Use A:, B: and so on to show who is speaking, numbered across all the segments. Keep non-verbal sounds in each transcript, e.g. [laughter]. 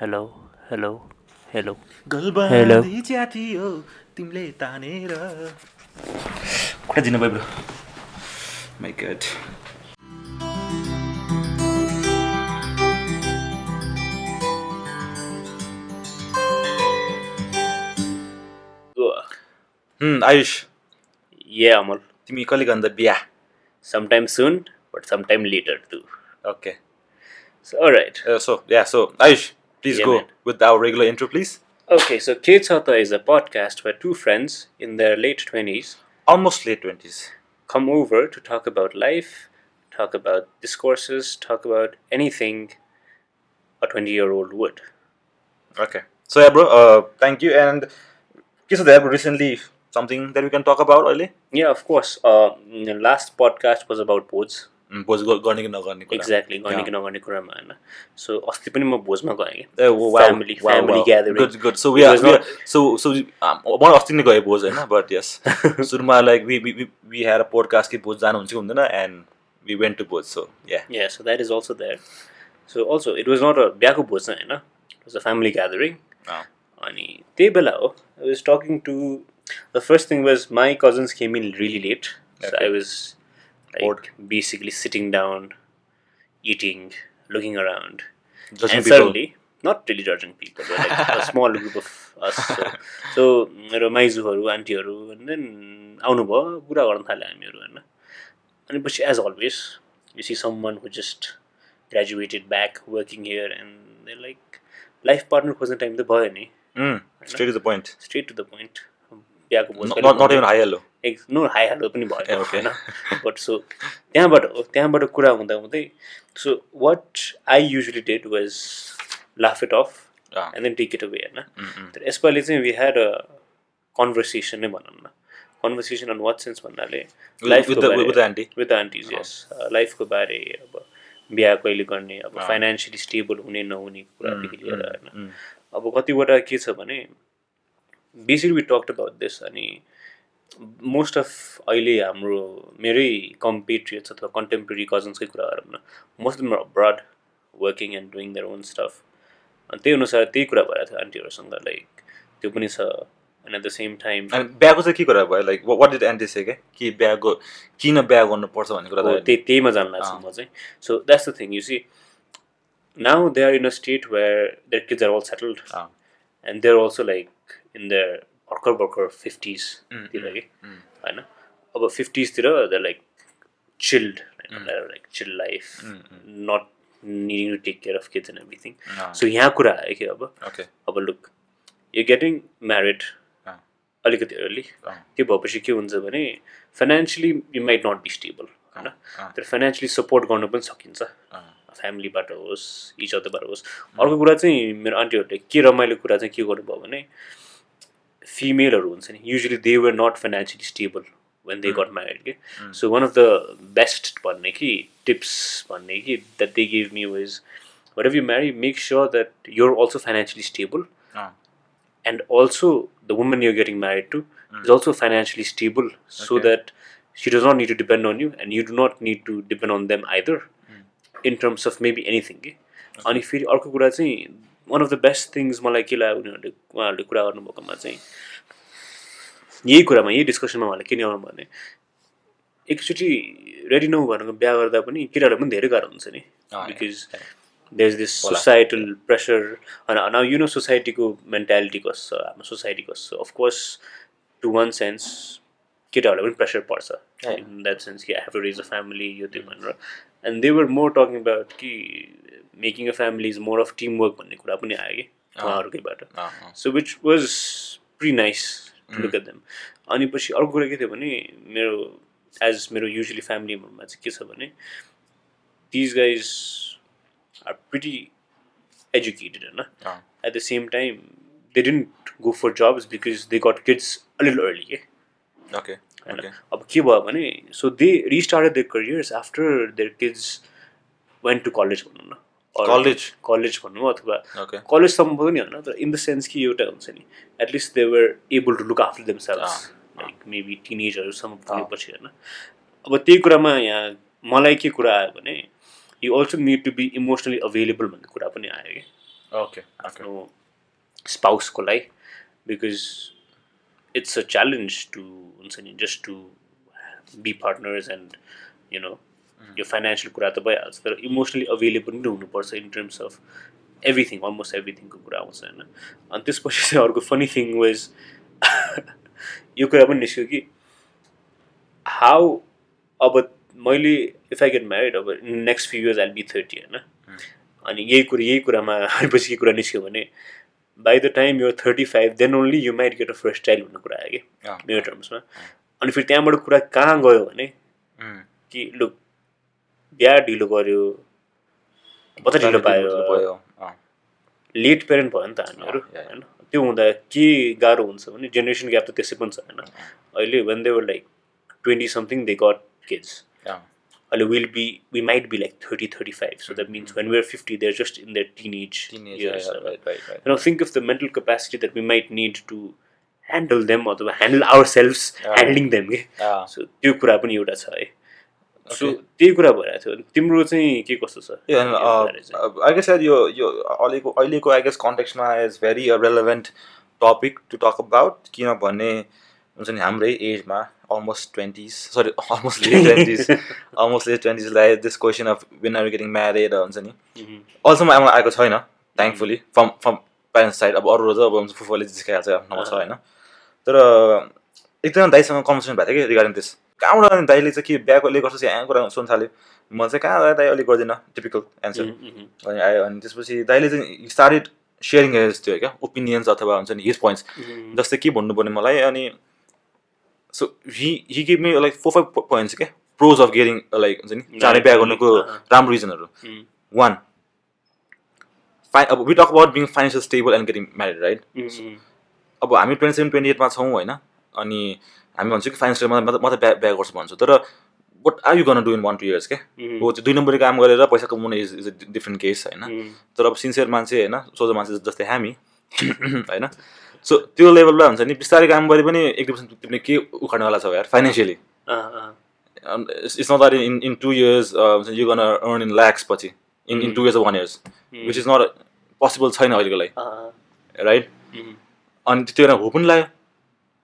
A: Hello hello hello Hello.
B: गलबानी च्याती हो तिमीले तानेर खोजिन भाइ ब्रो माइ गड आयुष
A: ये अमल
B: तिमी कहिले गर्दा बिहा
A: sometime soon but sometime later too
B: okay
A: right
B: so yeah so Ayush please
A: Yeah,
B: go
A: man.
B: With our regular intro please
A: okay so के छ त is a podcast where two friends in their late twenties
B: almost late twenties
A: come over to talk about life, talk about discourses, talk about anything a 20 year old would.
B: Okay. So yeah, bro. Uh, thank you. And okay, so there recently something that we can talk about early.
A: Yeah, of course. Uh, the last podcast was about boards.
B: भोज गर्ने कि नगर्ने कुरा
A: Exactly. गर्ने कि नगर्ने कुरामा होइन सो अस्ति पनि म भोजमा गएँ कि
B: ए, wow, wow,
A: family
B: wow,
A: family
B: wow.
A: Gathering
B: Good, good. So we
A: It
B: are,
A: was
B: we
A: not-
B: are so so we- um, म अस्ति नै गएँ भोज होइन बट यस
A: [laughs]
B: सुरुमा like we we we had a podcast कि भोज जानुहुन्छ कि हुँदैन एन्ड वी वेन्ट टु भोज so yeah
A: Yeah, so that is also there. So also, it was not a बिहाको भोज चाहिँ होइन it was a family gathering
B: अँ।
A: अनि त्यही बेला हो I was talking to the first thing was my cousins came in really late so
B: Okay.
A: I was
B: Bored.
A: Like basically sitting down eating looking around
B: जजिङ
A: and suddenly, not really judging people, but like a small group of us. So, so मेरो माइजूहरू आन्टीहरू and then आउनुभयो कुरा गर्न थाल्यो हामीहरू होइन अनि पछि as always you see someone who just graduated back working here and they like life partner खोज्ने टाइम त भयो नि
B: Hmm. Straight is the point
A: straight to the point बिहाको बोझ
B: not not even hi hello
A: एक no hi hello पनि
B: ए,
A: भयो
B: okay.
A: होइन बट सो त्यहाँबाट हो त्यहाँबाट कुरा हुँदा हुँदै so what I usually did was laugh it off
B: Ah.
A: And then take it away होइन तर यसपालि चाहिँ वी ह्याड अ कन्भर्सेसन नै भनौँ न कन्भर्सेसन अन वाट सेन्स भन्नाले लाइफको बारे-
B: विथ आन्टी
A: विथ आन्टिज यस लाइफको बारे अब बिहा कहिले गर्ने अब
B: अँ।
A: फाइनेन्सियली स्टेबल हुने नहुने
B: Hmm, Mm,
A: कुरादेखि लिएर होइन अब कतिवटा के छ भने basically we talked about this अनि मोस्ट अफ अहिले हाम्रो मेरै कम्पिट्रियट्स अथवा कन्टेम्पोरेरी कजन्सकै कुरा गरौँ न most of abroad working and doing their own stuff अनि त्यही अनुसार त्यही कुरा भएर थियो आन्टीहरूसँग लाइक त्यो पनि छ and at the same time
B: अनि बिहाको चाहिँ के कुरा भयो like what did aunty say के कि बिहाको किन बिहा गर्नुपर्छ भन्ने कुरा
A: हो,
B: त
A: त्यही त्यहीमा जान लाग्छ म चाहिँ so that's the thing you see now they are in a state where their kids are all settled
B: अँ।
A: And they're also like in their भर्खर भर्खर फिफ्टिजतिर कि
B: mm.
A: होइन अब फिफ्टिजतिर the like chilled like chilled life
B: Mm-hmm. mm,
A: not needing to take care of kids and everything
B: अँ।
A: सो यहाँ कुरा आयो कि अब
B: ओके
A: अब लुक यु गेटिङ म्यारिड
B: अँ।
A: अलिकति अर्ली
B: अँ।
A: त्यो भएपछि के हुन्छ भने financially you might not be stable होइन
B: अँ।
A: तर फाइनेन्सियली सपोर्ट गर्नु पनि सकिन्छ
B: अँ।
A: फ्यामिलीबाट होस् इच अदरबाट होस् अर्को कुरा चाहिँ मेरो आन्टीहरूले के रमाइलो कुरा चाहिँ के गर्नुभयो भने फिमेलहरू हुन्छ नि usually they were not financially stable when they got married के so one of the best भन्ने कि टिप्स भन्ने कि that they give me was what if you marry make sure that you're also financially stable
B: Ah.
A: and also the woman you're getting married to is also financially stable so
B: Okay.
A: that she does not need to depend on you and you do not need to depend on them either in terms of maybe anything के। अनि फेरि अर्को कुरा चाहिँ one of the best things मलाई के लाग्यो उनीहरूले उहाँहरूले कुरा गर्नुभएकोमा चाहिँ यही कुरामा यही डिस्कसनमा उहाँले के ल्याउनु भने एकचोटि रेडी नभएर बिहा गर्दा पनि केटाहरूलाई पनि धेरै गाह्रो हुन्छ नि
B: अँ,
A: बिकज देयर इज दिस
B: होला।
A: सोसाइटल प्रेसर होइन नाउ यु नो सोसाइटीको मेन्टालिटी कस्तो छ हाम्रो सोसाइटी कस्तो छ अफकोर्स टु वान सेन्स केटाहरूलाई पनि प्रेसर पर्छ
B: Yeah.
A: इन द्याट सेन्स कि I have to raise a family यो त्यो भनेर and they were more talking about कि making a family is more of team work भन्ने कुरा पनि आयो कि उहाँहरूकैबाट
B: अँ, अँ।
A: So which was pretty nice look at them अनि पछि अर्को कुरा के थियो भने मेरो एज मेरो युजली फ्यामिलीमा चाहिँ के छ भने these guys are pretty educated होइन
B: अँ।
A: At the same time they didn't go for jobs because they got kids अलिअलि अर्ली के
B: ओके
A: होइन
B: ओके
A: अब के भयो भने so they restarted their careers after their kids went to college भनौँ न
B: College?
A: कलेज भनौँ अथवा
B: ओके
A: कलेजसम्म पनि होइन तर इन द सेन्स कि एउटा हुन्छ नि at least they were able to look after themselves
B: अँ,
A: लाइक मेबी टिनेजहरूसम्म पुगेपछि होइन अब त्यही कुरामा यहाँ मलाई के कुरा आयो भने you also need to be emotionally available भन्ने कुरा पनि आयो कि
B: ओके
A: आफ्नो स्पाउसको लागि because it's a challenge to हुन्छ नि just to be partners and you know यो फाइनेन्सियल कुरा त भइहाल्छ तर इमोसनली अभाइलेबल पनि हुनुपर्छ in terms of everything almost एभ्रिथिङको कुरा आउँछ होइन अनि [laughs] त्यसपछि चाहिँ अर्को फनी थिङ वाज [laughs] यो कुरा पनि निस्क्यो कि हाउ अब मैले इफ आई गेट म्यारिड अब next few years I be thirty होइन अनि यही कुरा यही कुरामा [laughs] आएपछि के कुरा निस्क्यो भने बाई द टाइम यो thirty five then only you might get a first child भन्ने कुरा आयो
B: अँ।
A: कि मेरो टर्म्समा अनि फेरि त्यहाँबाट कुरा कहाँ गयो भने कि लु बिहा ढिलो गऱ्यो बच्चा ढिलो पायो लेट प्यारेन्ट भयो नि त हामीहरू
B: या, या।
A: होइन त्यो हुँदा के गाह्रो हुन्छ भने जेनेरेसन ग्याप त त्यसै पनि छ होइन अहिले when they're like twenty something they got kids अहिले will be we might be like thirty thirty five so that means when we're fifty they're just in their teen age you know, think of the mental capacity that we might need to handle them or to handle ourselves
B: Yeah.
A: handling them के so त्यो कुरा पनि एउटा छ है so त्यही कुरा भइरहेको थियो अनि तिम्रो चाहिँ के कस्तो छ
B: uh,
A: चाहिँ?
B: आई गेस यो यो अहिलेको अहिलेको आई गेस कन्टेक्समा is very relevant topic to talk about किनभने हुन्छ नि हाम्रै एजमा almost twenties [laughs] sorry almost late twenties almost late ट्वेन्टिजलाई this question of when are getting married हुन्छ नि
A: Mhm.
B: अहिलेसम्म आमा आएको छैन thankfully from from parents side अब अरू रोज अब हुन्छ फुफुले जिस्काइहाल्छ आफ्नो नम्बर छ होइन तर एकजना दाइसँग कन्भर्सेसन भएको थियो कि रिगार्डिङ दिस कहाँबाट अनि दाइले चाहिँ के बिहाको अहिले गर्छ यहाँ कुरा सुन्न थाल्यो म चाहिँ कहाँ दाइ, दाइ अलिक गर्दिनँ टिपिकल एन्सर
A: Mhm, mhm.
B: अनि आयो अनि त्यसपछि दाइले चाहिँ स्टार्टेड सेयरिङ त्यो क्या ओपिनियन्स अथवा हुन्छ नि हिज पोइन्ट्स
A: Mhm.
B: जस्तै के भन्नुपर्ने मलाई अनि so he he give me like four five points क्या प्रोज अफ गेटिङ लाइक हुन्छ नि चाँडै बिहा गर्नुको राम्रो रिजनहरू
A: Mhm.
B: वान फाइ अब we talk about being financial stable and getting married right
A: Mhm.
B: अब हामी ट्वेन्टी सेभेन ट्वेन्टी एटमा छौँ होइन अनि हामी भन्छौँ कि फाइनेन्सियल म त- म त बिहा बिहा गर्छु भन्छु तर वाट आर यु गर्न do in one two years के
A: Mhm.
B: हो त्यो दुई नम्बरको काम गरेर पैसा कमाउनु is is a different case होइन
A: Mhm.
B: तर अब सिन्सियर मान्छे होइन सोझो मान्छे जस्तै हामी [clears throat] होइन सो त्यो लेभलमा हुन्छ नि बिस्तारै काम गरे पनि एक दुई पर्सेन्ट तिमीले के उखाड्नेवाला छौ यार फाइनेन्सियली
A: अँ, अँ।
B: It's not that in in two years you gonna earn in lakhs पछि in
A: Hmm.
B: In two years one years which is not possible छैन अहिलेको लागि
A: अँ,
B: राइट
A: uh, mhm.
B: अनि त्यो कुरा हो पनि लाग्यो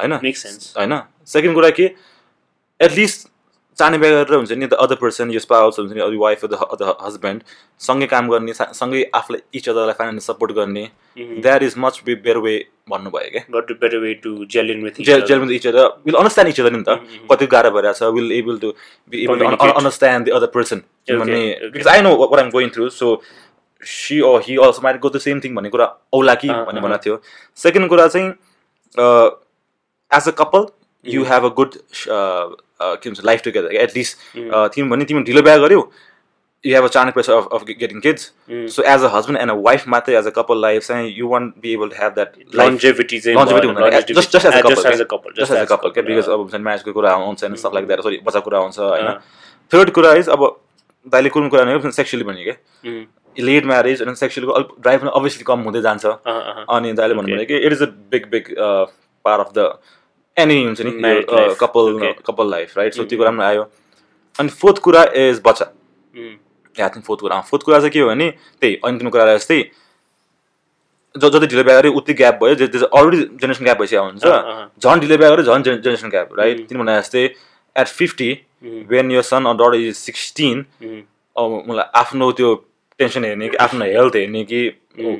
B: होइन
A: Makes sense.
B: होइन सेकेन्ड कुरा के एटलिस्ट चाने बिहा गरेर हुन्छ नि द अदर पर्सन यो स्पाउस हुन्छ नि अरू वाइफ द अदर हस्बेन्ड सँगै काम गर्ने सा- सँगै आफूलाई इच अदरलाई फाइनेन्स सपोर्ट गर्ने
A: Mhm.
B: That is much be bare way भन्नुभयो क्या
A: Got a better way to gel in with each
B: gel
A: other.
B: Gel each other will understand each other नि त
A: Mhm.
B: कति गाह्रो भइरहेको छ will able to be able
A: Communicate.
B: Understand the other person
A: Okay,
B: भन्ने
A: okay.
B: Because I know what I'm going through so see uh he also might go the same thing भन्ने कुरा औला कि
A: अँ,
B: भन्ने
A: अँ।
B: भनेको थियो सेकेन्ड कुरा चाहिँ
A: uh,
B: as a couple you
A: Mhm.
B: Have a good
A: uh,
B: के भन्छ लाइफ टुगेदर एटलिस्ट
A: Mhm.
B: तिमी भने तिमी ढिलो बिहा गऱ्यौ यु हेभ अ चार्ने press of of getting kids
A: Mhm.
B: So as a husband and a wife मात्रै एज अ कपाल लाइफ चाहिँ you want be able to have that life
A: Longevity चाहिँ
B: longevity
A: भएन,
B: हुँदैन,
A: longevity-
B: just- just as a
A: Ah,
B: couple,
A: just as a couple,
B: just as a couple क्या
A: couple,
B: because
A: अँ,
B: अब हुन्छ नि म्यारेजको कुरा आउँछ होइन सब लाइक द्याट सरी बच्चाको कुरा आउँछ होइन
A: अँ,
B: थर्ड कुरा इज अब दाइले कुन कुरा नै सेक्सुअली भन्यो क्या
A: mhm.
B: लेट म्यारेज अनि सेक्सुअलको अलिक ड्राइभ पनि अभियसली कम हुँदै जान्छ
A: अँ, अँ, अँ।
B: अनि दाइले भन्नुभयो कि it is a big big part of the any हुन्छ नि
A: Married life,
B: couple
A: okay.
B: Couple life right so
A: Mhm.
B: त्यो कुरा पनि आयो अनि फोर्थ कुरा इज बच्चा
A: Mhm.
B: या थिङ्क फोर्थ कुरा फोर्थ कुरा चाहिँ के हो भने त्यही अनि तिम्रो कुरा आयो जस्तै ज जति ढिलो बिहा गऱ्यो उति ग्याप भयो जे अलरेडी जेनेरेसन ग्याप भइसकेको हुन्छ
A: अँ, अँ।
B: झन् ढिलो बिहा गऱ्यो झन् जेनेरेसन ग्याप राइट
A: Mhm.
B: तिन भने जस्तै एट फिफ्टी
A: Mhm.
B: वेन यो son or daughter is sixteen
A: Mhm.
B: अब मलाई आफ्नो त्यो टेन्सन हेर्ने कि आफ्नो हेल्थ हेर्ने कि
A: Mhm.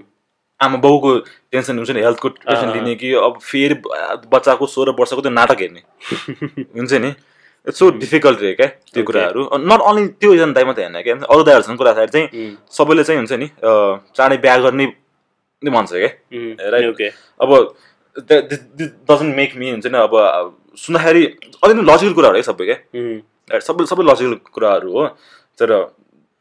B: आमा बाउको टेन्सन हुन्छ नि हेल्थको टेन्सन
A: अँ।
B: लिने कि अब फेरि ब- बच्चाको सोह्र वर्षको त्यो नाटक हेर्ने हुन्छ नि इट्स सो डिफिकल्ट रह्यो क्या त्यो
A: Okay.
B: कुराहरू नट ओन्ली त्यो एकजना दाइ मात्रै हेर्ने क्या अरू दाइहरूसँग कुरा छ चाहिँ
A: Mhm.
B: सबैले चाहिँ हुन्छ नि अ, चाँडै बिहा गर्ने नै भन्छ क्या
A: Mhm.
B: Right.
A: Okay.
B: अब दिस डजन्ट मेक मी हुन्छ नि अब अब सुन्दाखेरि अलिकति लजिकल कुराहरू है सबै क्या
A: Mhm.
B: Right, सबै सबै लजिकल कुराहरू हो तर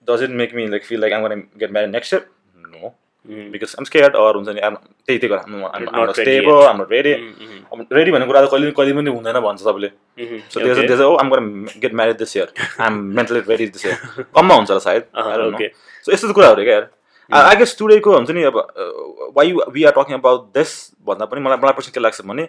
B: does it make me like feel like I'm gonna get married next year no
A: Mhm.
B: Because I'm scared or हुन्छ नि I'm- त्यही त्यही कुरा
A: You're not
B: हाम्रो
A: ready
B: स्टेबल
A: yet.
B: हाम्रो रेडी
A: Mhm. Mhm.
B: अब रेडी भन्ने कुरा त कहिले कहिले पनि हुँदैन भन्छ सबैले
A: Mhm.
B: सो त्यसो
A: Okay.
B: त्यसो हो I'm gonna get married this year I'm mentally ready this
A: [laughs]
B: year कममा हुन्छ होला सायद
A: अँ,
B: I don't know.
A: Uh-huh, okay.
B: So यस्तो कुराहरू क्या यार आई गेस टुडेको हुन्छ नि अब why we are talking about this भन्दा पनि मलाई मलाई पर्सन के लाग्छ भने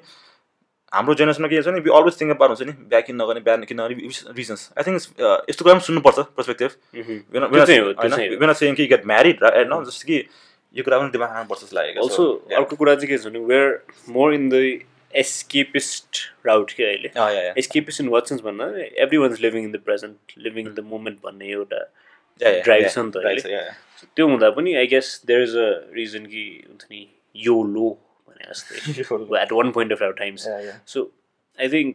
B: हाम्रो जेनेरेसनमा के छ नि वी अलवेज थिङ्क अबाउट हुन्छ नि बिहा किन नगर्ने बिहा किन नगर्ने रिजन्स आई थिङ्क
A: Mm-hmm.
B: यस्तो कुरा पनि सुन्नुपर्छ पर्सपेक्टिभ
A: Mhm. त्यो चाहिँ हो, त्यो चाहिँ हो।
B: वेन सेङ कि गेट म्यारिड होइन जस्तो कि यो कुरा पनि दिमाग राख्नुपर्छ जस्तो लागेको
A: अल्सो अर्को कुरा चाहिँ के छ भने we're more in the escapist route के अहिले एस्केपिस्ट इन वाट सेन्स भन्दा everyone is living in the present living in the
B: Mm.
A: Moment भन्ने एउटा ड्राइभ छ नि त अहिले त्यो हुँदा पनि I guess there is a reason कि हुन्छ नि यो लो भने
B: [laughs]
A: जस्तै at one point of our times [laughs] so I think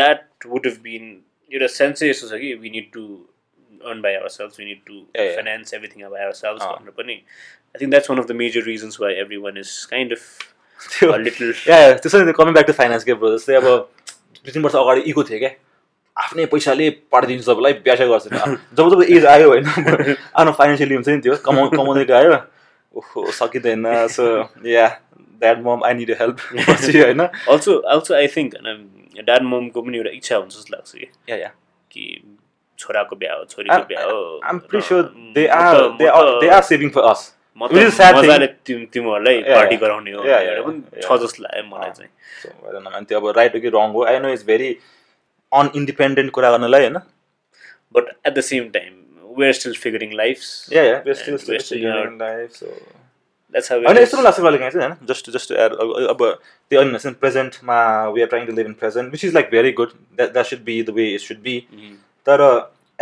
A: that would have been एउटा सेन्सै यस्तो छ कि we need to earn by ourselves we need to
B: yeah. Ah.
A: Finance everything अब आवर सेल्स भनेर पनि I think that's one of the major reasons why everyone is kind
B: [laughs]
A: of
B: [laughs] त्यो-
A: little
B: yeah त्यसरी नै coming back to finance के bro जस्तै अब दुई तिन वर्ष अगाडि इको थियो क्या आफ्नै पैसाले पारिदिन्छु तपाईँलाई व्यासा गर्छु [laughs] जब जब एज आयो होइन आफ्नो फाइनेन्सियली हुन्छ नि त्यो कमाउ कमाउँदै गयो ओहो सकिँदैन so yeah that mom I need [laughs] help पछि होइन
A: अल्सो अल्सो आई थिङ्क होइन ड्याड ममको पनि एउटा इच्छा हुन्छ जस्तो लाग्छ कि
B: या या
A: कि छोराको बिहा हो छोरीको
B: I'm-
A: बिहा हो
B: आइम
A: र
B: प्रिटी स्योर
A: म
B: दे
A: त-
B: आर
A: म
B: दे आर
A: त-
B: they are saving for us
A: म त
B: Which is sad thing.
A: मजाले तिम- तिमीहरूलाई
B: Yeah,
A: पार्टी
B: yeah.
A: गराउने हो
B: Yeah,
A: भनेर
B: yeah,
A: पनि
B: yeah. Ah.
A: छ जस्तो लाग्यो मलाई
B: अँ।
A: चाहिँ
B: त्यो अब राइट हो कि रङ हो I know it's very unindependent कुरा गर्नलाई होइन
A: but at the same time we're still figuring life
B: yeah yeah we're
A: And
B: still-
A: we're
B: still
A: still
B: figuring life, so- होइन यस्तो पनि
A: द्याट्स
B: लाग्छ कहिले काहीँ चाहिँ होइन जस्ट जस्ट अब त्यो अनि हुन्छ नि प्रेजेन्टमा we are trying to live in present which is like very good that that should be the way it should be
A: Hmm.
B: तर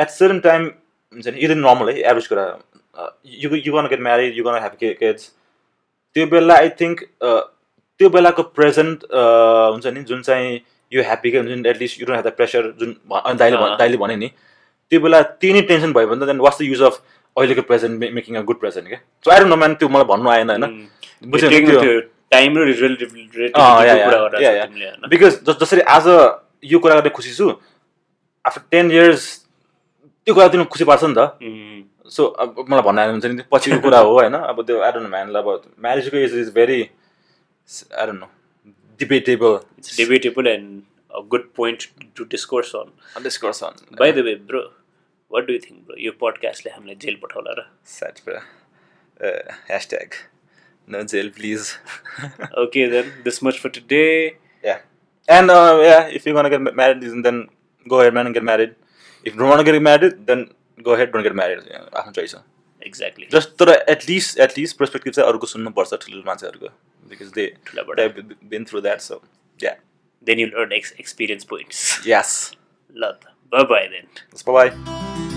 B: एट सर्टन टाइम हुन्छ नि यो चाहिँ नर्मल है एभरेज कुरा uh, you you gonna get married you gonna have kids त्यो बेला I think त्यो बेलाको प्रेजेन्ट हुन्छ नि जुन चाहिँ यो ह्याप्पी के हुन्छ नि at least you don't have the pressure जुन भ- अनि दाइले भन्-
A: अँ।
B: दाइले भने नि त्यो बेला त्यही नै टेन्सन भयो भने त then what's the use of अहिलेको present making a good present क्या सो आएर नम्यान त्यो मलाई भन्नु आएन होइन
A: Hmm.
B: बुझ्यो नि त्यो?
A: टाइम र रिलेटिभ
B: अँ, या, या,
A: कुरा गरेर
B: या,
A: छ
B: या।
A: तिमीले होइन
B: बिकज जस जसरी आज यो कुरा गर्दै खुसी छु आफ्टर टेन इयर्स त्यो कुरा तिमीलाई खुसी पार्छ नि त
A: उम्,
B: सो अब मलाई भन्नु आएर हुन्छ नि त्यो पछिको कुरा हो होइन अब त्यो आई डोन्ट म्यान अब म्यारेजको is is very I don't know debatable
A: it's debatable and a good point to discourse on.
B: Discourse on
A: By the way, bro, what do you think, bro? यो podcastले हामीलाई जेल पठाउला र
B: सेट पुरा Uh, hashtag no jail please
A: Okay, then, this much for today.
B: Yeah. And uh, yeah, if you're gonna get ma- married, then go ahead, man, and get married. If you don't wanna get married, then go ahead, don't get married. Yeah, आफ्नो choice हो।
A: Exactly.
B: Just तर at least at least perspective चाहिँ अरूको सुन्नुपर्छ ठुलो मान्छेहरूको because they
A: ठुलाबाट।
B: they've b- been through that. So yeah,
A: [laughs] Then you'll earn ex- experience points.
B: yes.
A: Love. Bye bye then.
B: Bye bye.